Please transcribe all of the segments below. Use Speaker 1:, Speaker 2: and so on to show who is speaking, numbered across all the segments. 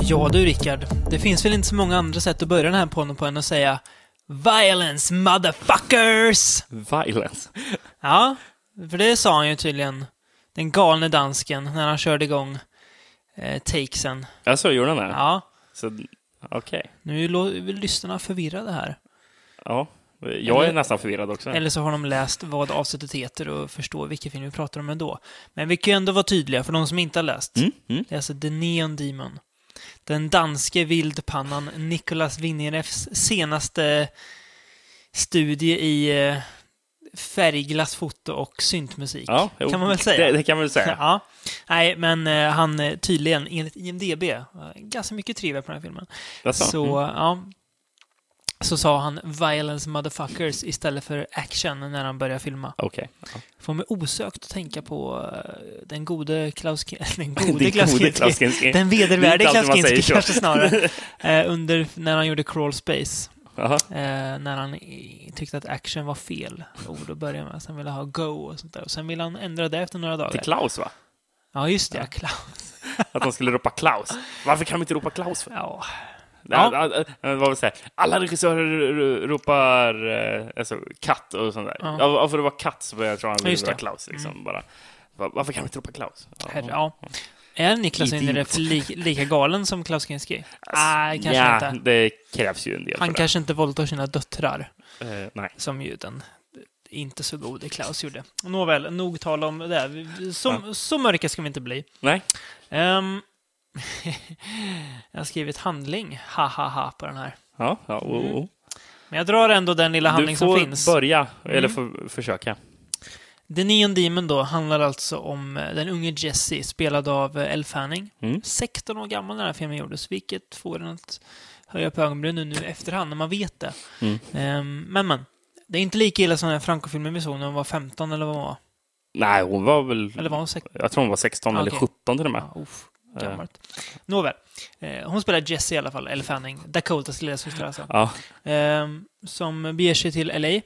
Speaker 1: Ja du Rickard, det finns väl inte så många andra sätt att börja den här podden på än att säga Violence motherfuckers!
Speaker 2: Violence.
Speaker 1: Ja, för det sa han ju tydligen, den galne dansken, när han körde igång eh, takesen.
Speaker 2: Alltså, gjorde den det?
Speaker 1: Ja,
Speaker 2: Så, okej.
Speaker 1: nu är lo- lyssnarna förvirrade här.
Speaker 2: Ja. Jag är
Speaker 1: Eller-
Speaker 2: nästan förvirrad också.
Speaker 1: Eller så har de läst vad avsnittet heter och förstår vilken film vi pratar om ändå. Men vi kan ju ändå vara tydliga för de som inte har läst.
Speaker 2: Mm, mm.
Speaker 1: Det är alltså The Neon Demon. Den danske vildpannan Nicolas Winnereffs senaste studie i eh, färgglatt foto och syntmusik.
Speaker 2: Ja, jo,
Speaker 1: kan man väl säga.
Speaker 2: Det, det kan man väl säga.
Speaker 1: Ja. Nej, men eh, han eh, tydligen, enligt IMDB, eh, ganska mycket trivia på den här filmen.
Speaker 2: Alltså,
Speaker 1: Så,
Speaker 2: mm.
Speaker 1: ja. Så sa han 'violence motherfuckers' istället för 'action' när han började filma.
Speaker 2: Okej. Ja.
Speaker 1: Får mig osökt att tänka på eh, den gode Klaus... Ke- Den
Speaker 2: Det
Speaker 1: gode
Speaker 2: är
Speaker 1: Klaus
Speaker 2: gode
Speaker 1: Kinski.
Speaker 2: Klaus Kinski.
Speaker 1: Den
Speaker 2: Det
Speaker 1: vedervärdige
Speaker 2: är inte alltid
Speaker 1: Klaus
Speaker 2: man säger
Speaker 1: Kinski
Speaker 2: så.
Speaker 1: kanske snarare. Eh, under, när han gjorde Crawl Space.
Speaker 2: Jaha.
Speaker 1: Eh, när han i- tyckte att action var fel ord att börja med. Sen ville han ha go och sånt där. Och sen ville han ändra det efter några
Speaker 2: Till
Speaker 1: dagar.
Speaker 2: Klaus, va?
Speaker 1: Ja, just det. Ja. Klaus.
Speaker 2: Att de skulle ropa Klaus. Varför kan de inte ropa Klaus? För?
Speaker 1: Ja.
Speaker 2: Ja. Det var väl så här, alla regissörer r- ropar eh, alltså, katt och sånt där.
Speaker 1: Ja.
Speaker 2: Ja. Ja, för det var katt så jag tror han ville
Speaker 1: just
Speaker 2: ropa
Speaker 1: det. Mm.
Speaker 2: Klaus. Liksom, bara. Va- Varför kan de inte ropa Klaus? Ja.
Speaker 1: Herre, ja. Är Niklas
Speaker 2: Idiot.
Speaker 1: Winnereff li, lika galen som Klaus Kinski? Nej, kanske
Speaker 2: Nja,
Speaker 1: inte.
Speaker 2: det krävs ju en del
Speaker 1: Han
Speaker 2: för
Speaker 1: kanske inte våldtar sina döttrar,
Speaker 2: det. Eh, nej.
Speaker 1: som ju den inte så gode Klaus gjorde. Nåväl, nog tal om det. Vi- Så, så mörka ska vi inte bli.
Speaker 2: nej.
Speaker 1: Ehm, jag har skrivit handling, ha ha ha, på den här.
Speaker 2: Ja, ja, oh, oh.
Speaker 1: Men jag drar ändå den lilla Mm. handling
Speaker 2: Du får
Speaker 1: som finns. Mm.
Speaker 2: börja, eller för, försöka.
Speaker 1: The Neon Demon då handlar alltså om eh, den unge Jesse, spelad av eh, Elle Fanning.
Speaker 2: Mm.
Speaker 1: 16 år gammal när den här filmen gjordes, vilket får en att höja på ögonbrynen nu i efterhand när man vet det.
Speaker 2: Mm.
Speaker 1: Ehm, men men, det är inte lika illa som den Franco-filmen vi såg när hon var 15 eller vad hon var.
Speaker 2: Nej, hon var väl...
Speaker 1: Eller var hon 16?
Speaker 2: Jag tror hon var 16
Speaker 1: Ah,
Speaker 2: eller
Speaker 1: okej.
Speaker 2: 17 till och med.
Speaker 1: Ja, uff, gammalt. Nåväl. Eh, hon spelar Jesse i alla fall, Elle Fanning. Dakotas lillasyster alltså.
Speaker 2: Ja.
Speaker 1: Ehm, som beger sig till LA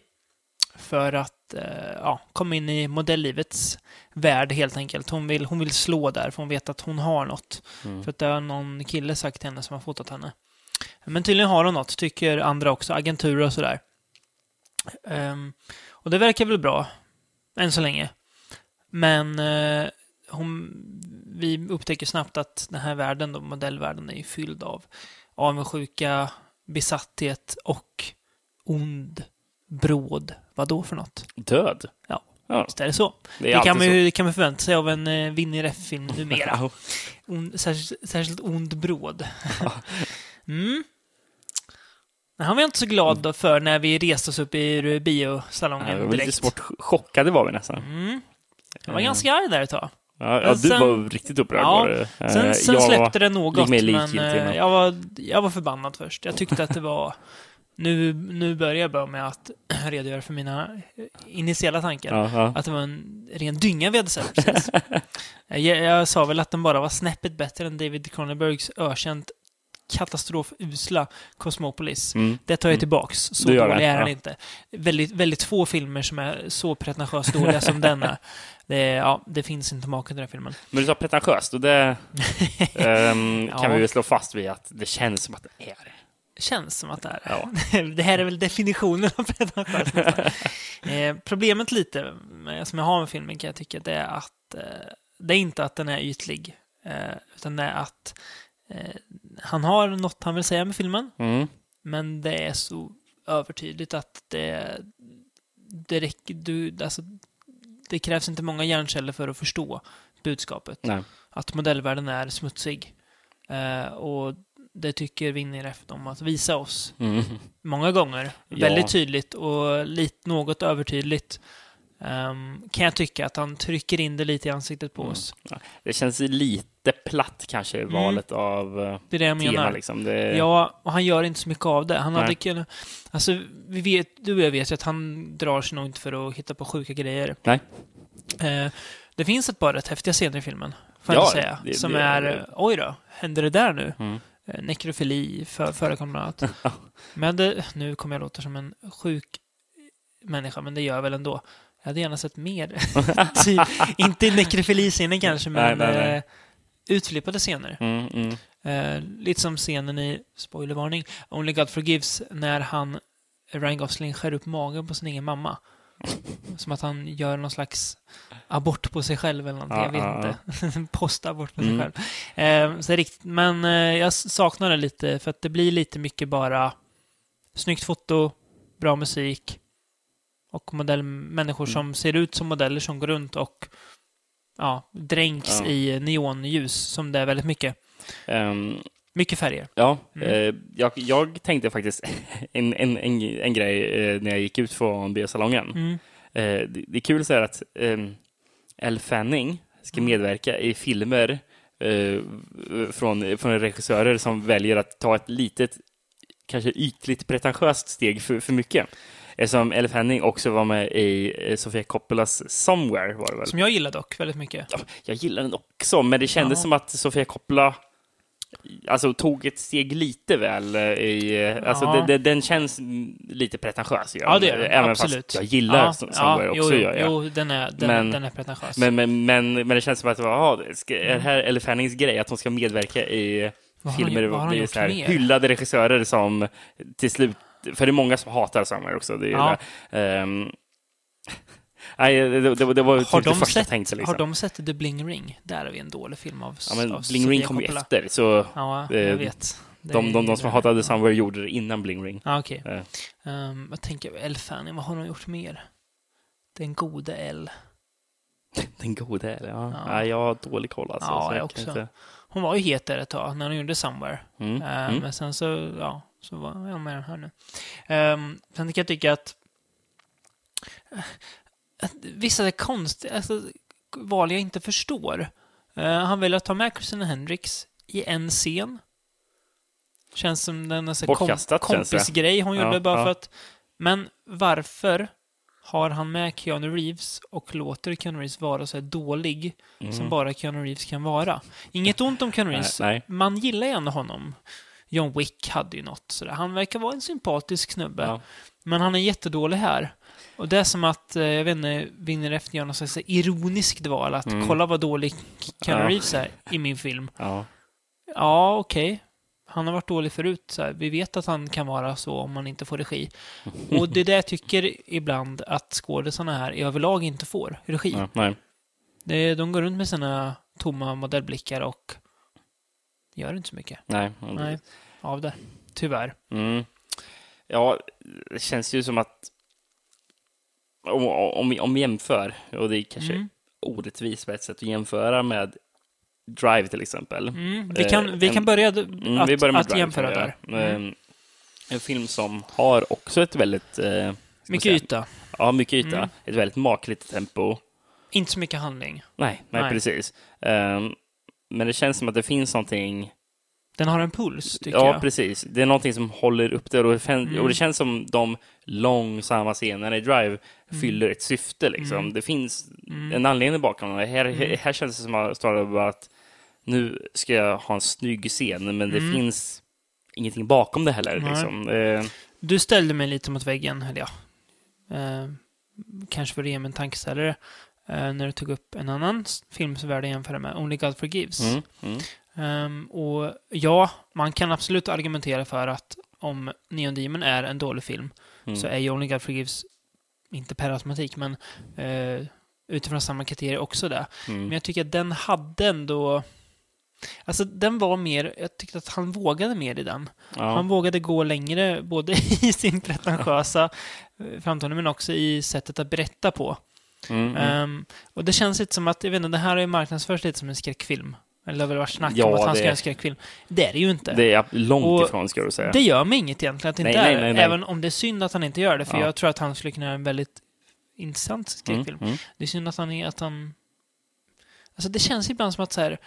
Speaker 1: för att eh, ja, komma in i modelllivets värld helt enkelt. Hon vill, hon vill slå där, för hon vet att hon har något.
Speaker 2: Mm.
Speaker 1: För att det har någon kille sagt till henne som har fotat henne. Men tydligen har hon något, tycker andra också, agenturer och sådär. Ehm, och det verkar väl bra, än så länge. Men eh, hon, vi upptäcker snabbt att den här världen, då, modellvärlden, är ju fylld av avundsjuka, besatthet och ond, bråd. Vad då för något?
Speaker 2: Död.
Speaker 1: Ja.
Speaker 2: ja.
Speaker 1: Visst är det så?
Speaker 2: Det
Speaker 1: Det,
Speaker 2: är
Speaker 1: kan, man
Speaker 2: alltid
Speaker 1: ju, det kan man förvänta sig av en eh, Winnie Reff-film numera.
Speaker 2: så.
Speaker 1: Ond, särskilt, särskilt ond bråd. mm. Men han var jag inte så glad då för när vi reste oss upp i
Speaker 2: Ja, vi
Speaker 1: biosalongen
Speaker 2: Mm. var lite
Speaker 1: direkt.
Speaker 2: svårt chockade var vi nästan.
Speaker 1: Mm. Jag var
Speaker 2: Eh,
Speaker 1: ganska arg där ett tag.
Speaker 2: Ja, ja, du
Speaker 1: Sen-
Speaker 2: var riktigt upprörd.
Speaker 1: Ja,
Speaker 2: var du. Eh,
Speaker 1: Sen, sen
Speaker 2: jag
Speaker 1: släppte det
Speaker 2: gick
Speaker 1: något,
Speaker 2: med
Speaker 1: men
Speaker 2: likgiltig,
Speaker 1: eh,
Speaker 2: men-
Speaker 1: jag var, jag var förbannad först. Jag tyckte att det var... Nu, nu börjar jag bara med att redogöra för mina eh, initiala tankar.
Speaker 2: Ja, ja.
Speaker 1: Att det var en ren dynga vi hade sett precis. jag, jag sa väl att den bara var snäppet bättre än David Cronenbergs ökänt katastrofusla Cosmopolis.
Speaker 2: Mm.
Speaker 1: Det tar jag tillbaks. Så
Speaker 2: Du gör
Speaker 1: dålig
Speaker 2: det,
Speaker 1: är den
Speaker 2: ja.
Speaker 1: inte. Väldigt, väldigt få filmer som är så pretentiöst dåliga som denna. Det, är- ja, det finns inte maken till den här filmen.
Speaker 2: Men du sa pretentiöst och det ehm,
Speaker 1: Ja.
Speaker 2: kan vi väl slå fast vid att det känns som att det är det.
Speaker 1: känns som att det är.
Speaker 2: Ja.
Speaker 1: det här är väl definitionen av pretentiöst. eh, problemet lite med, som jag har med filmen kan jag tycka det är att eh, det är inte att den är ytlig, eh, utan det är att eh, han har något han vill säga med filmen,
Speaker 2: Mm.
Speaker 1: men det är så övertydligt att det, det räcker, du, alltså, det krävs inte många hjärnceller för att förstå budskapet
Speaker 2: Nej.
Speaker 1: att modellvärlden är smutsig. Eh, och det tycker Winneref om att visa oss
Speaker 2: Mm.
Speaker 1: många gånger.
Speaker 2: Ja.
Speaker 1: Väldigt tydligt och lite, något övertydligt. Ehm, kan jag tycka att han trycker in det lite i ansiktet på
Speaker 2: Mm.
Speaker 1: oss.
Speaker 2: Det känns lite platt kanske i valet av eh,
Speaker 1: Det är det Mm. jag
Speaker 2: tema.
Speaker 1: menar.
Speaker 2: Liksom. Det,
Speaker 1: Ja, och han gör inte så mycket av det. Han hade
Speaker 2: Nej.
Speaker 1: kunnat... Alltså, vi vet, du och jag vet ju att han drar sig nog inte för att hitta på sjuka grejer.
Speaker 2: Nej.
Speaker 1: Eh, det finns ett par rätt häftiga scener i filmen, får
Speaker 2: Ja,
Speaker 1: jag inte säga.
Speaker 2: det-
Speaker 1: som
Speaker 2: det-
Speaker 1: är, eh,
Speaker 2: det-
Speaker 1: oj då, händer det där nu?
Speaker 2: Mm.
Speaker 1: Eh, Nekrofili för, förekom bland annat. Men det, nu kommer jag låta som en sjuk människa, men det gör jag väl ändå. Jag hade gärna sett mer. Ty- inte nekrofili-scenen kanske, men
Speaker 2: Nej, nej, nej.
Speaker 1: eh, utflippade scener.
Speaker 2: Mm, mm.
Speaker 1: Eh, lite som scenen i, spoilervarning, Only God Forgives när han, Ryan Gosling, skär upp magen på sin egen mamma. Som att han gör någon slags abort på sig själv eller någonting,
Speaker 2: Ja,
Speaker 1: jag vet
Speaker 2: ja, ja.
Speaker 1: inte. Postabort på sig
Speaker 2: Ah, Mm.
Speaker 1: själv. Eh, så det är riktigt, men eh, jag saknar det lite för att det blir lite mycket bara snyggt foto, bra musik och modell, människor
Speaker 2: Mm.
Speaker 1: som ser ut som modeller som går runt och ja, dränks
Speaker 2: Ja.
Speaker 1: i neonljus som det är väldigt mycket.
Speaker 2: Ehm,
Speaker 1: Mycket färger.
Speaker 2: Ja,
Speaker 1: Mm.
Speaker 2: eh, jag, jag tänkte faktiskt en, en, en, en grej eh, när jag gick ut från biosalongen.
Speaker 1: Mm.
Speaker 2: Eh, det, det är kul så här att ehm, Elle Fanning ska
Speaker 1: Mm.
Speaker 2: medverka i filmer eh, från, från regissörer som väljer att ta ett litet, kanske ytligt pretentiöst steg för, för mycket. Eftersom Elle Fanning också var med i eh, Sofia Coppolas Somewhere var det väl?
Speaker 1: Som jag gillar dock väldigt mycket.
Speaker 2: Ja, jag gillar den också, men det kändes
Speaker 1: Ja.
Speaker 2: som att Sofia Coppola alltså, tog ett steg lite väl. eh, I, eh, alltså,
Speaker 1: Ja.
Speaker 2: det, det, den känns mm, lite pretentiös. gör
Speaker 1: Ja, det
Speaker 2: den,
Speaker 1: gör den.
Speaker 2: Även
Speaker 1: Absolut.
Speaker 2: fast jag gillar ja, Somewhere
Speaker 1: ja,
Speaker 2: också.
Speaker 1: jo,
Speaker 2: gör jag.
Speaker 1: Jo, den är, den,
Speaker 2: Men-
Speaker 1: den är pretentiös.
Speaker 2: Men, men, men, men det känns som att aha, ska, är det här Elle Fannings grej, att hon ska medverka i
Speaker 1: Mm. Vad har hon
Speaker 2: filmer
Speaker 1: gjort- vad har hon
Speaker 2: och bli
Speaker 1: gjort
Speaker 2: så här,
Speaker 1: mer?
Speaker 2: hyllade regissörer som till slut, för det är många som hatar Somewhere också. Det är
Speaker 1: Ja.
Speaker 2: där, ehm, Nej, det, det, det, var typ
Speaker 1: har,
Speaker 2: det
Speaker 1: de
Speaker 2: första jag
Speaker 1: sett,
Speaker 2: tänkte. Liksom.
Speaker 1: har de sett The Bling Ring? Där är vi en dålig film av,
Speaker 2: ja,
Speaker 1: av
Speaker 2: men Bling
Speaker 1: Sofia
Speaker 2: Ring kom ju
Speaker 1: Coppola.
Speaker 2: efter, så
Speaker 1: Ja,
Speaker 2: Eh,
Speaker 1: jag vet. Det
Speaker 2: De, de,
Speaker 1: är-
Speaker 2: de som hatade Somewhere gjorde det innan Bling Ring.
Speaker 1: Ja, okej.
Speaker 2: Eh.
Speaker 1: Ehm, vad tänker jag? Elle Fanning, vad har hon gjort mer? Den gode L.
Speaker 2: Den gode, eller? Ja.
Speaker 1: Ja.
Speaker 2: Nej, jag har dålig koll alltså.
Speaker 1: Ja,
Speaker 2: så
Speaker 1: jag
Speaker 2: kan
Speaker 1: också.
Speaker 2: inte-
Speaker 1: Hon var ju het där ett tag, när hon gjorde Somewhere. Ehm,
Speaker 2: Mm. Mm.
Speaker 1: Men sen så, ja, så var jag med den här nu. Ehm, sen kan jag tycka att, eh, att vissa konst, alltså, val jag inte förstår. Eh, han väljer att ta med Christina Hendricks i en scen. Känns som den alltså,
Speaker 2: Bortkastat, känns det.
Speaker 1: kompisgrej hon
Speaker 2: Ja,
Speaker 1: gjorde bara
Speaker 2: ja.
Speaker 1: för att... Men varför har han med Keanu Reeves och låter Keanu Reeves vara så här dålig
Speaker 2: Mm.
Speaker 1: som bara Keanu Reeves kan vara? Inget ont om Keanu
Speaker 2: Nej,
Speaker 1: Reeves,
Speaker 2: nej.
Speaker 1: man gillar ju ändå honom. John Wick hade ju något sådär. Han verkar vara en sympatisk snubbe.
Speaker 2: Ja.
Speaker 1: Men han är jättedålig här. Och det är som att, eh, jag vet inte, Winner efter gör någon slags ironisk dval. Att
Speaker 2: Mm.
Speaker 1: kolla vad dålig Keanu
Speaker 2: Ja.
Speaker 1: Reeves är i min film.
Speaker 2: Ja.
Speaker 1: Ja, okej. Han har varit dålig förut. Så här. Vi vet att han kan vara så om man inte får regi. Och det är det jag tycker ibland att skådisarna här i överlag inte får regi.
Speaker 2: Ja, nej.
Speaker 1: Det, de går runt med sina tomma modellblickar och gör inte så mycket
Speaker 2: Nej.
Speaker 1: Nej, av det. Tyvärr.
Speaker 2: Mm. Ja, det känns ju som att om, om, vi- om vi jämför, och det är kanske
Speaker 1: Mm.
Speaker 2: orättvist på ett sätt att jämföra med Drive till exempel.
Speaker 1: Mm. Vi, kan, vi
Speaker 2: Eh, en-
Speaker 1: kan börja d-
Speaker 2: Mm,
Speaker 1: att,
Speaker 2: vi börjar med
Speaker 1: att
Speaker 2: Drive,
Speaker 1: jämföra
Speaker 2: tror jag.
Speaker 1: där. Mm.
Speaker 2: Eh, En film som har också ett väldigt... Eh, ska man
Speaker 1: Mycket
Speaker 2: säga,
Speaker 1: yta.
Speaker 2: Ja, mycket yta.
Speaker 1: Mm.
Speaker 2: Ett väldigt makligt tempo.
Speaker 1: Inte så mycket handling.
Speaker 2: Nej, nej,
Speaker 1: Nej.
Speaker 2: precis. Ehm, men det känns som att det finns någonting.
Speaker 1: Den har en puls, tycker
Speaker 2: Ja,
Speaker 1: jag.
Speaker 2: precis. Det är någonting som håller upp det. Och det, fän-
Speaker 1: Mm.
Speaker 2: och det känns som de långsamma scenerna i Drive fyller ett syfte. Liksom.
Speaker 1: Mm.
Speaker 2: Det finns
Speaker 1: Mm.
Speaker 2: en anledning bakom det. Här,
Speaker 1: Mm.
Speaker 2: här känns det som att snarare bara att nu ska jag ha en snygg scen, men det
Speaker 1: Mm.
Speaker 2: finns ingenting bakom det heller.
Speaker 1: Nej.
Speaker 2: Liksom. Ehm,
Speaker 1: Du ställde mig lite mot väggen, eller ja. Eh, kanske för att ge mig en tankeställare. Eh, när du tog upp en annan s- film som är värd att jämföra med, Only God Forgives.
Speaker 2: mm, mm,
Speaker 1: Ehm, och ja, man kan absolut argumentera för att om Neon Demon är en dålig film
Speaker 2: mm.
Speaker 1: så är ju Only God Forgives, inte per automatik, men eh, utifrån samma kriterier också det.
Speaker 2: mm.
Speaker 1: Men jag tycker att den hade ändå... Alltså den var mer, jag tyckte att han vågade mer i den. Han
Speaker 2: ja.
Speaker 1: vågade gå längre, både i sin pretentiösa eh, framtoning, men också i sättet att berätta på.
Speaker 2: mm, mm.
Speaker 1: Ehm, och det känns lite som att, jag vet inte, det här är marknadsförs lite som en skräckfilm. Eller det har väl varit snack om
Speaker 2: Ja,
Speaker 1: att han
Speaker 2: det-
Speaker 1: ska göra en skräckfilm. Det är det ju inte.
Speaker 2: Det är långt
Speaker 1: och-
Speaker 2: ifrån, ska du säga.
Speaker 1: Det gör mig inget egentligen att det
Speaker 2: Nej,
Speaker 1: inte
Speaker 2: nej,
Speaker 1: är,
Speaker 2: nej, nej.
Speaker 1: även om det är synd att han inte gör det, för
Speaker 2: Ja.
Speaker 1: jag tror att han skulle kunna göra en väldigt intressant
Speaker 2: Mm,
Speaker 1: skräckfilm.
Speaker 2: mm.
Speaker 1: Det är synd att han är, att han... Alltså det känns ibland som att så här,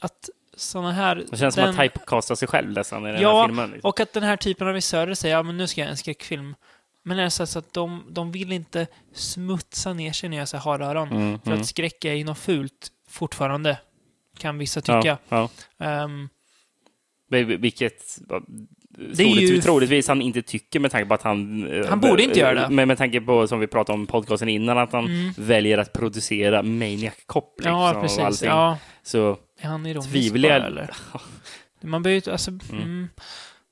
Speaker 1: att såna här...
Speaker 2: Det känns
Speaker 1: den-
Speaker 2: som att typecasta sig själv nästan i den
Speaker 1: Ja,
Speaker 2: här filmen. Liksom.
Speaker 1: Och att den här typen av regissörer säger ja men nu ska jag göra en skräckfilm. Men det är så, här så att de, de vill inte smutsa ner sig när jag säger haröron.
Speaker 2: Mm,
Speaker 1: För
Speaker 2: mm.
Speaker 1: att skräck är ju något fult fortfarande, kan vissa tycka.
Speaker 2: Ja, ja.
Speaker 1: Ehm,
Speaker 2: Men vil- Vilket ja,
Speaker 1: är ju-
Speaker 2: troligtvis, troligtvis han inte tycker med tanke på att han... eh,
Speaker 1: Han borde inte göra det.
Speaker 2: Men med tanke på, som vi pratade om i podcasten innan, att han
Speaker 1: Mm.
Speaker 2: väljer att producera Maniac Cop liksom,
Speaker 1: ja,
Speaker 2: och
Speaker 1: precis.
Speaker 2: allting.
Speaker 1: Ja,
Speaker 2: Så mm,
Speaker 1: Är han ironisk
Speaker 2: Tvivliga-
Speaker 1: bara, eller? Man behöver ju inte- alltså, mm.
Speaker 2: Mm.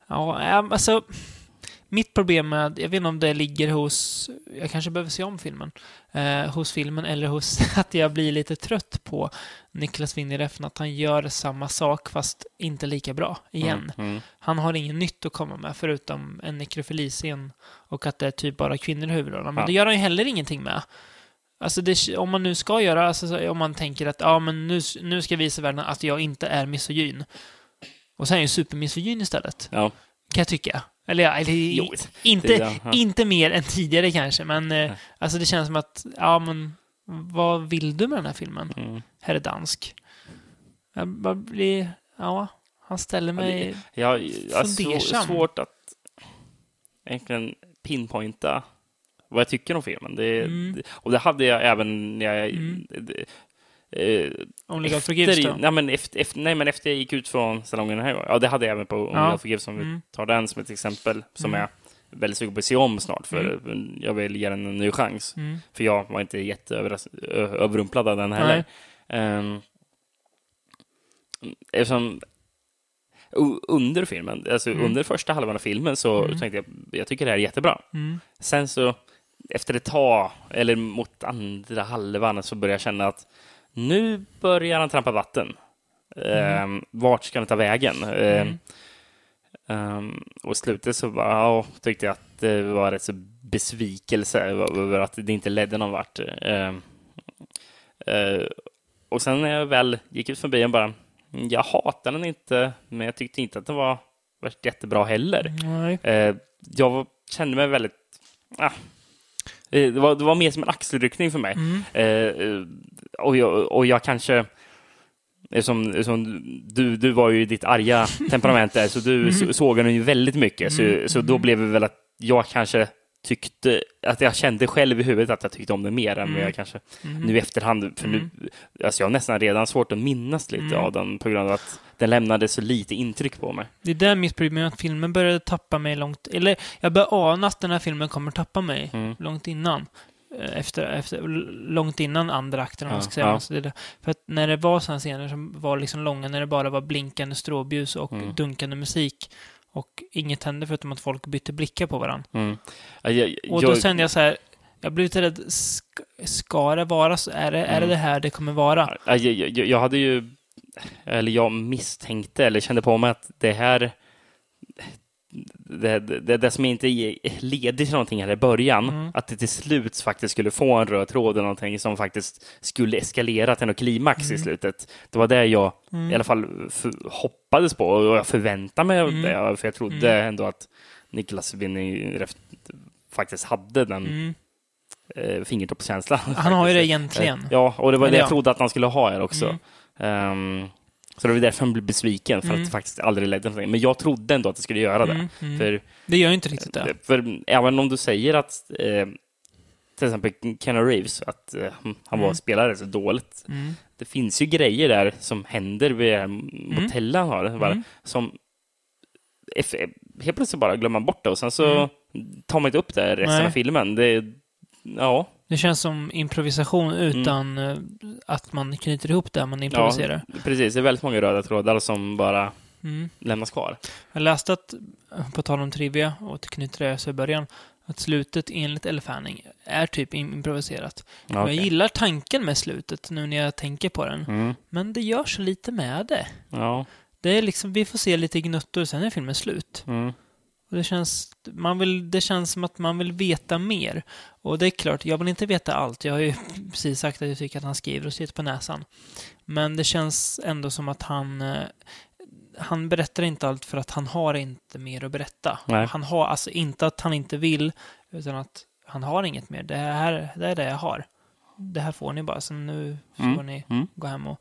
Speaker 1: Ja, ehm, alltså. Mitt problem med, jag vet inte om det ligger hos, jag kanske behöver se om filmen, eh, hos filmen eller hos att jag blir lite trött på Niklas Winnerefn, att han gör samma sak fast inte lika bra igen.
Speaker 2: Mm. Mm.
Speaker 1: Han har inget nytt att komma med förutom en nekrofiliscen och att det är typ bara kvinnor i huvudrollerna. Men
Speaker 2: Ja.
Speaker 1: det gör han ju heller ingenting med. Alltså det, om man nu ska göra, alltså så- om man tänker att ja, men nu, nu ska jag visa världen att jag inte är misogyn. Och så är han ju supermisogyn istället,
Speaker 2: Ja.
Speaker 1: kan jag tycka. Eller, ja, eller
Speaker 2: Jo,
Speaker 1: inte,
Speaker 2: det- ja.
Speaker 1: inte mer än tidigare kanske, men eh, alltså det känns som att, ja men vad vill du med den här filmen,
Speaker 2: Mm.
Speaker 1: herre dansk? Jag bara blir, ja, han ställer
Speaker 2: Ja, det-
Speaker 1: mig...
Speaker 2: Jag jag har
Speaker 1: Fundersam.
Speaker 2: svå- svårt att egentligen pinpointa vad jag tycker om filmen. Det,
Speaker 1: Mm.
Speaker 2: det, och det hade jag även när jag...
Speaker 1: Mm.
Speaker 2: Det, eh,
Speaker 1: Only God Forgives
Speaker 2: efter,
Speaker 1: då?
Speaker 2: nej, men efter, efter, nej, men efter jag gick ut från salongen den här gången. Ja, det hade jag även på Om
Speaker 1: Ja.
Speaker 2: jag förgives, om vi
Speaker 1: Mm.
Speaker 2: tar den som ett exempel, som
Speaker 1: Mm.
Speaker 2: jag är väldigt sugen på att se om snart, för jag vill ge den en ny chans.
Speaker 1: Mm.
Speaker 2: För jag var inte jätteöverrumplad av den heller. Um, eftersom u- under filmen, alltså
Speaker 1: Mm.
Speaker 2: under första halvan av filmen så
Speaker 1: Mm.
Speaker 2: tänkte jag jag tycker det här är jättebra.
Speaker 1: Mm.
Speaker 2: Sen så efter ett tag, eller mot andra halvan, så börjar jag känna att nu börjar han trampa vatten.
Speaker 1: Mm.
Speaker 2: Ehm, vart ska han ta vägen? Ehm,
Speaker 1: Mm.
Speaker 2: ehm, och i slutet så bara, ja, tyckte jag att det var rätt så besvikelse över att det inte ledde någon vart. Ehm, eh, och sen när jag väl gick ut förbi den bara, "Mm, jag hatar den inte, men jag tyckte inte att den var värst jättebra heller.
Speaker 1: Nej.
Speaker 2: Eh, jag var- kände mig väldigt... Ah. Eh, Det var, det var mer som en axelryckning för mig.
Speaker 1: Mm.
Speaker 2: Eh, eh, och, jag, och jag kanske... eh, Som, som du, du var ju i ditt arga temperament där, så du så- såg den ju väldigt mycket.
Speaker 1: Mhm. Mm,
Speaker 2: Så, så då
Speaker 1: mm.
Speaker 2: blev det väl att jag kanske tyckte... Att jag kände själv i huvudet att jag tyckte om det mer än
Speaker 1: Mm.
Speaker 2: vad jag kanske...
Speaker 1: Mm.
Speaker 2: Nu i efterhand, för
Speaker 1: Mm.
Speaker 2: nu... Alltså jag har nästan redan svårt att minnas lite
Speaker 1: Mm.
Speaker 2: av den på grund av att den lämnade så lite intryck på mig.
Speaker 1: Det är där mitt problem är att filmen började tappa mig långt... Eller jag började ana att den här filmen kommer tappa mig
Speaker 2: Mm.
Speaker 1: långt innan. Eh, Efter, efter, l- långt innan andra akten, om man
Speaker 2: Ja,
Speaker 1: ska säga.
Speaker 2: ja.
Speaker 1: Alltså det, är det- för att när det var sådana scener som var liksom långa, när det bara var blinkande stråbljus och
Speaker 2: Mm.
Speaker 1: dunkande musik och inget hände förutom att folk bytte blickar på varandra.
Speaker 2: Mm. Ja, Jag,
Speaker 1: Och då
Speaker 2: jag,
Speaker 1: kände jag så här, jag blev lite rädd. Ska, ska det vara så? Är det, är det
Speaker 2: Mm.
Speaker 1: det här det kommer vara?
Speaker 2: Ja, Jag, jag, jag hade ju, eller jag misstänkte eller kände på mig att det här, det, det, det som inte ledde till någonting här i början,
Speaker 1: Mm.
Speaker 2: att det till slut faktiskt skulle få en röd tråd eller någonting som faktiskt skulle eskalera till något klimax i
Speaker 1: Mm.
Speaker 2: slutet. Det var det jag
Speaker 1: Mm.
Speaker 2: i alla fall för, hoppades på och jag förväntade mig
Speaker 1: Mm.
Speaker 2: det, för jag trodde ändå att Niklas Winning faktiskt hade den
Speaker 1: Mm.
Speaker 2: eh, fingertoppskänslan.
Speaker 1: Han har ju det
Speaker 2: faktiskt.
Speaker 1: egentligen.
Speaker 2: Ja, och det var
Speaker 1: Eller
Speaker 2: det jag
Speaker 1: ja.
Speaker 2: trodde att han skulle ha här också.
Speaker 1: Mm.
Speaker 2: Ehm, så det var därför han blev besviken, för
Speaker 1: Mm.
Speaker 2: att det faktiskt aldrig ledde till någonting. Men jag trodde ändå att det skulle göra det.
Speaker 1: Mm, mm.
Speaker 2: För, Eh,
Speaker 1: det gör ju inte riktigt det.
Speaker 2: för även om du säger att eh, till exempel Keanu Reeves, att eh, han var
Speaker 1: Mm.
Speaker 2: spelare så dåligt.
Speaker 1: Mm.
Speaker 2: Det finns ju grejer där som händer vid det här motellet han har. Bara,
Speaker 1: Mm.
Speaker 2: Som eff- helt plötsligt bara glömmer man bort det och sen så
Speaker 1: Mm.
Speaker 2: tar man inte upp det här resten
Speaker 1: Nej.
Speaker 2: av filmen. Det, ja,
Speaker 1: Det känns som improvisation
Speaker 2: Mm.
Speaker 1: utan eh, att man knyter ihop det man improviserar.
Speaker 2: precis. Det är väldigt många röda trådar som bara
Speaker 1: Mm.
Speaker 2: lämnas kvar.
Speaker 1: Jag läste att, eh, på tal om trivia, och återknyter det så i början, att slutet enligt Elle Fanning är typ im- improviserat.
Speaker 2: Ja,
Speaker 1: Jag gillar tanken med slutet nu när jag tänker på den.
Speaker 2: Mm.
Speaker 1: Men det gör så lite med det.
Speaker 2: Ja.
Speaker 1: Det är liksom, vi får se lite gnuttor, sen är filmen slut.
Speaker 2: Mm.
Speaker 1: Och det, känns, man vill, det känns som att man vill veta mer. Och det är klart, jag vill inte veta allt. Jag har ju precis sagt att jag tycker att han skriver och sitter på näsan. Men det känns ändå som att han... eh, Han berättar inte allt för att han har inte mer att berätta.
Speaker 2: Nej.
Speaker 1: Han har alltså inte att han inte vill, utan att han har inget mer. Det här det är det jag har. Det här får ni bara, sen nu får
Speaker 2: Mm.
Speaker 1: ni
Speaker 2: Mm.
Speaker 1: gå hem och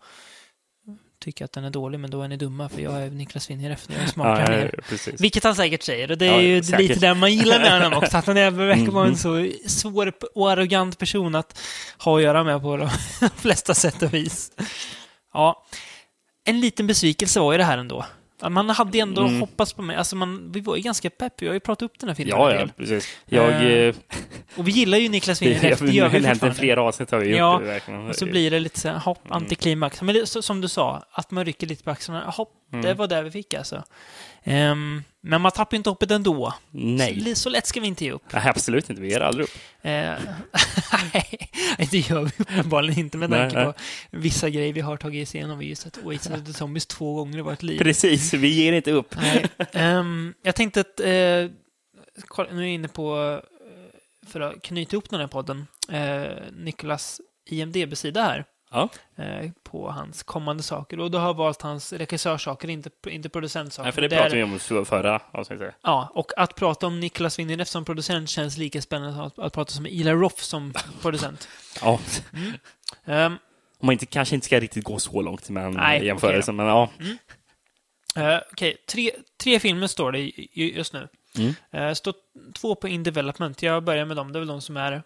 Speaker 1: tycka att den är därför men då är ni dumma för jag är Niklas Winneref, jag är smartare än er.
Speaker 2: precis.
Speaker 1: Vilket han säkert säger, och det
Speaker 2: Ja,
Speaker 1: är ju
Speaker 2: säkert.
Speaker 1: lite det man gillar med honom också. Att han är- verkar vara en
Speaker 2: Mhm.
Speaker 1: så svår och arrogant person att ha att göra med på de flesta sätt och vis. Ja. En liten besvikelse var ju det här ändå. Ja, Man hade ändå
Speaker 2: Mm.
Speaker 1: hoppats på mig. Alltså man, vi var ju ganska pepp. Jag har ju pratat upp den här filmen
Speaker 2: Ja,
Speaker 1: en
Speaker 2: ja,
Speaker 1: del.
Speaker 2: precis. Jag...
Speaker 1: Eh,
Speaker 2: eh,
Speaker 1: Och vi gillar ju Niklas
Speaker 2: Det,
Speaker 1: Winnerbäck. Det, gör vi
Speaker 2: har hänt i
Speaker 1: fortfarande.
Speaker 2: flera avsnitt har vi gjort
Speaker 1: Ja,
Speaker 2: det verkligen.
Speaker 1: Och så blir det lite så här, hopp,
Speaker 2: Mm.
Speaker 1: antiklimax. Men det, är så, som du sa, att man rycker lite på axlarna. Hopp,
Speaker 2: Mm.
Speaker 1: det var där vi fick alltså. Ehm, men man tappar ju inte hoppet ändå. Så,
Speaker 2: Nej.
Speaker 1: li- så lätt ska vi inte ge upp.
Speaker 2: Nej, absolut inte. Vi ger aldrig upp.
Speaker 1: Eh, Nej, det gör vi uppenbarligen inte med
Speaker 2: Nej,
Speaker 1: tanke
Speaker 2: nej.
Speaker 1: på vissa grejer vi har tagit oss igenom. Vi har ju sett Oasis of the Zombies två gånger i vårt liv.
Speaker 2: Precis, vi ger inte upp.
Speaker 1: Nej. Ehm, jag tänkte att, eh, kolla, nu är jag inne på, eh, för att knyta ihop den här podden, eh, Niklas IMDB-sida här.
Speaker 2: Ja.
Speaker 1: Eh, på hans kommande saker. Och då har jag valt hans regissörsaker, inte, inte producentsaker.
Speaker 2: Nej, för det
Speaker 1: Där-
Speaker 2: pratade vi om i förra avsnittet.
Speaker 1: Ja, och att prata om Niklas Winnerbäck som producent känns lika spännande som att, att prata om Ila Roth som producent.
Speaker 2: Ja,
Speaker 1: Ehm,
Speaker 2: om man inte, kanske inte ska riktigt gå så långt med en
Speaker 1: Nej,
Speaker 2: jämförelse, men ja.
Speaker 1: Eh, Okej, tre, tre filmer står det i- i- just nu.
Speaker 2: Mm.
Speaker 1: Eh, står två på In Development. Jag börjar med dem. Det är väl de som är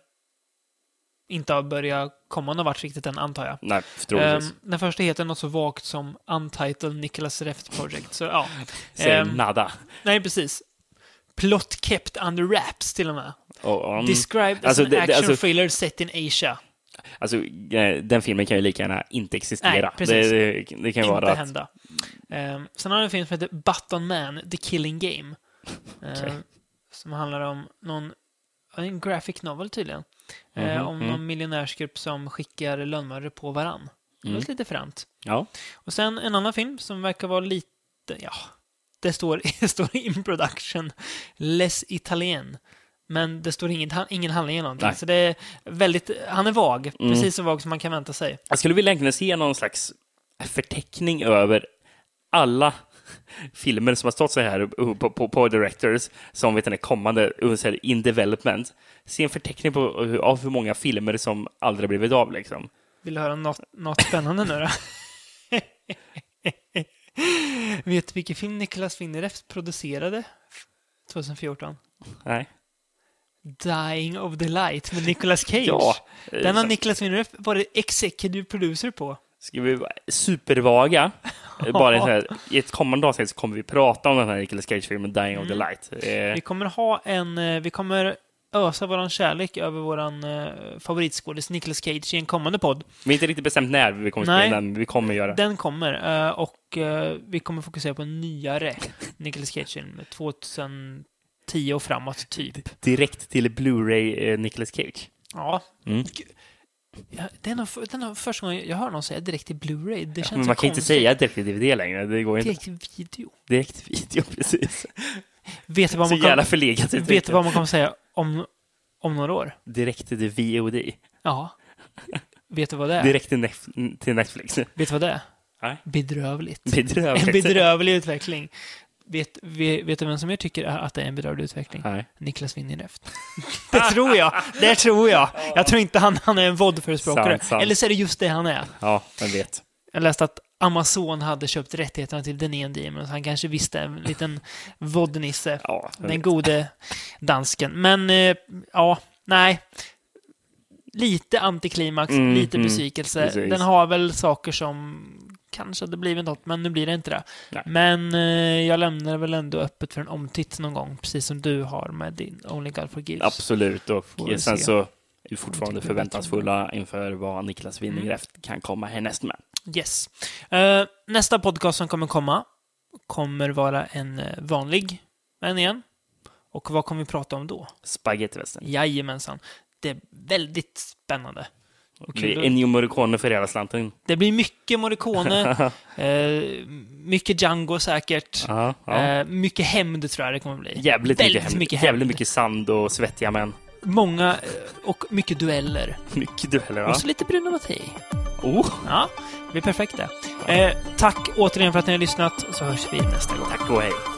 Speaker 1: inte har börjat komma någon vart riktigt än, antar jag.
Speaker 2: Nej, troligtvis.
Speaker 1: Ehm, den första heter något så vagt som Untitled Nicholas Reft Project. Så ja,
Speaker 2: Säger
Speaker 1: ehm,
Speaker 2: nada.
Speaker 1: nej precis. Plot kept under wraps till och med.
Speaker 2: Och, um,
Speaker 1: Described
Speaker 2: alltså,
Speaker 1: as an
Speaker 2: det- det-
Speaker 1: action
Speaker 2: alltså-
Speaker 1: thriller set in Asia.
Speaker 2: alltså, eh, den filmen kan ju lika gärna inte existera.
Speaker 1: Nej, precis.
Speaker 2: det, det, det kan ju
Speaker 1: Inte
Speaker 2: vara att...
Speaker 1: hända. Ehm, sen har vi en film som heter Button Man, The Killing Game. Ehm,
Speaker 2: Okej.
Speaker 1: Som handlar om någon, en graphic novel tydligen. Ehm,
Speaker 2: Mhm,
Speaker 1: om
Speaker 2: mm.
Speaker 1: någon miljonärsgrupp som skickar lönnmördare på varann. Det
Speaker 2: Mm.
Speaker 1: låter lite fränt.
Speaker 2: Ja.
Speaker 1: Och sen en annan film som verkar vara lite, ja, det står, det står in production, Les Italien. Men det står ingen, ingen handling eller någonting.
Speaker 2: Nej.
Speaker 1: Så det är väldigt, han är vag.
Speaker 2: Mm.
Speaker 1: Precis så vag som man kan vänta sig.
Speaker 2: Jag skulle vilja egentligen se någon slags förteckning över alla filmer som har stått så här på, på, på directors som vet ni, kommande uh, så här, in development. Se en förteckning på, hur- av hur många filmer som aldrig blivit av. Liksom.
Speaker 1: Vill du höra något, något spännande nu då? Vet du vilken film Niklas Winneref producerade 2014?
Speaker 2: Nej.
Speaker 1: Dying of the Light med Nicolas Cage.
Speaker 2: Ja, eh,
Speaker 1: Den har
Speaker 2: så-
Speaker 1: Niklas Winneref varit executive producer på.
Speaker 2: Ska vi vara supervaga? Eh, Bara så här, I ett kommande avsnitt så kommer vi prata om den här Nicolas Cage-filmen Dying of the
Speaker 1: Mm.
Speaker 2: Light. Eh,
Speaker 1: Vi kommer ha en... eh, Vi kommer ösa våran kärlek över våran eh, favoritskådis Nicolas Cage i en kommande podd.
Speaker 2: vi är inte riktigt bestämt när vi kommer
Speaker 1: Nej.
Speaker 2: spela den, men vi kommer göra det.
Speaker 1: Den kommer eh, och eh, vi kommer fokusera på en nyare Nicolas Cage-film. 2010 och framåt, typ.
Speaker 2: Direkt till Blu-ray eh, Nicolas Cage.
Speaker 1: Ja.
Speaker 2: Mm.
Speaker 1: Gud. Ja, Det är nog för- det är nog första gången jag hör någon säga direkt till Blu-ray. Det känns
Speaker 2: Men
Speaker 1: så
Speaker 2: man kan inte
Speaker 1: konstigt.
Speaker 2: säga direkt till DVD längre. Det går inte.
Speaker 1: direkt till video.
Speaker 2: Direkt video, precis.
Speaker 1: Vet du vad
Speaker 2: Så
Speaker 1: man, kom,
Speaker 2: jävla förlegat. jag
Speaker 1: vet
Speaker 2: tycker.
Speaker 1: du vad man kommer säga om, om några år?
Speaker 2: Direkt till VOD.
Speaker 1: Ja. vet du vad det är?
Speaker 2: Direkt till, Nef- till Netflix.
Speaker 1: Vet du vad det är?
Speaker 2: Nej.
Speaker 1: Bedrövligt. En
Speaker 2: Bedrövligt.
Speaker 1: bedrövlig utveckling. Vet, vet, vet du vem som jag tycker är- att det är en bedrövlig utveckling?
Speaker 2: Nej.
Speaker 1: Niklas Winnereft. det tror jag. Det tror jag. Jag tror inte han, han är en våldförespråkare.
Speaker 2: Sant, sant.
Speaker 1: Eller så är det just det han är.
Speaker 2: Ja, vem vet.
Speaker 1: Jag läste att Amazon hade köpt rättigheterna till den ene Demon, så han kanske visste en liten vodnisse,
Speaker 2: Ja, vem
Speaker 1: den
Speaker 2: vet.
Speaker 1: gode dansken. Men, eh, ja, nej. Lite antiklimax,
Speaker 2: Mm,
Speaker 1: lite
Speaker 2: mm,
Speaker 1: besvikelse.
Speaker 2: precis.
Speaker 1: Den har väl saker som kanske hade blivit något, men nu blir det inte det.
Speaker 2: Nej.
Speaker 1: Men eh, jag lämnar väl ändå öppet för en omtitt någon gång, precis som du har med din Only God Forgives.
Speaker 2: Absolut. Och
Speaker 1: Får vi
Speaker 2: sen
Speaker 1: se.
Speaker 2: så är vi fortfarande
Speaker 1: Tycker vi
Speaker 2: förväntansfulla inför vad Niklas
Speaker 1: Mm.
Speaker 2: Winningreft kan komma härnäst med.
Speaker 1: Yes. Eh, nästa podcast som kommer komma kommer vara en eh, vanlig en igen. Och vad kommer vi prata om då?
Speaker 2: Spagettivästern.
Speaker 1: Jajamensan. Det är väldigt spännande. Och
Speaker 2: Det
Speaker 1: kul.
Speaker 2: är Ennio Morricone för hela slanten.
Speaker 1: Det blir mycket Morricone, eh, mycket Django säkert,
Speaker 2: Ja, ja.
Speaker 1: eh, mycket hämnd tror jag det kommer bli.
Speaker 2: Jävligt mycket
Speaker 1: väldigt
Speaker 2: hem.
Speaker 1: mycket
Speaker 2: Jävligt
Speaker 1: hämnd.
Speaker 2: mycket sand och svettiga män.
Speaker 1: Många eh, och mycket dueller.
Speaker 2: Mycket dueller, va?
Speaker 1: Och så lite Bruno Mattei.
Speaker 2: Oh,
Speaker 1: Ja, det blir perfekt det. Eh, tack återigen för att ni har lyssnat, så hörs vi nästa gång.
Speaker 2: tack och hej.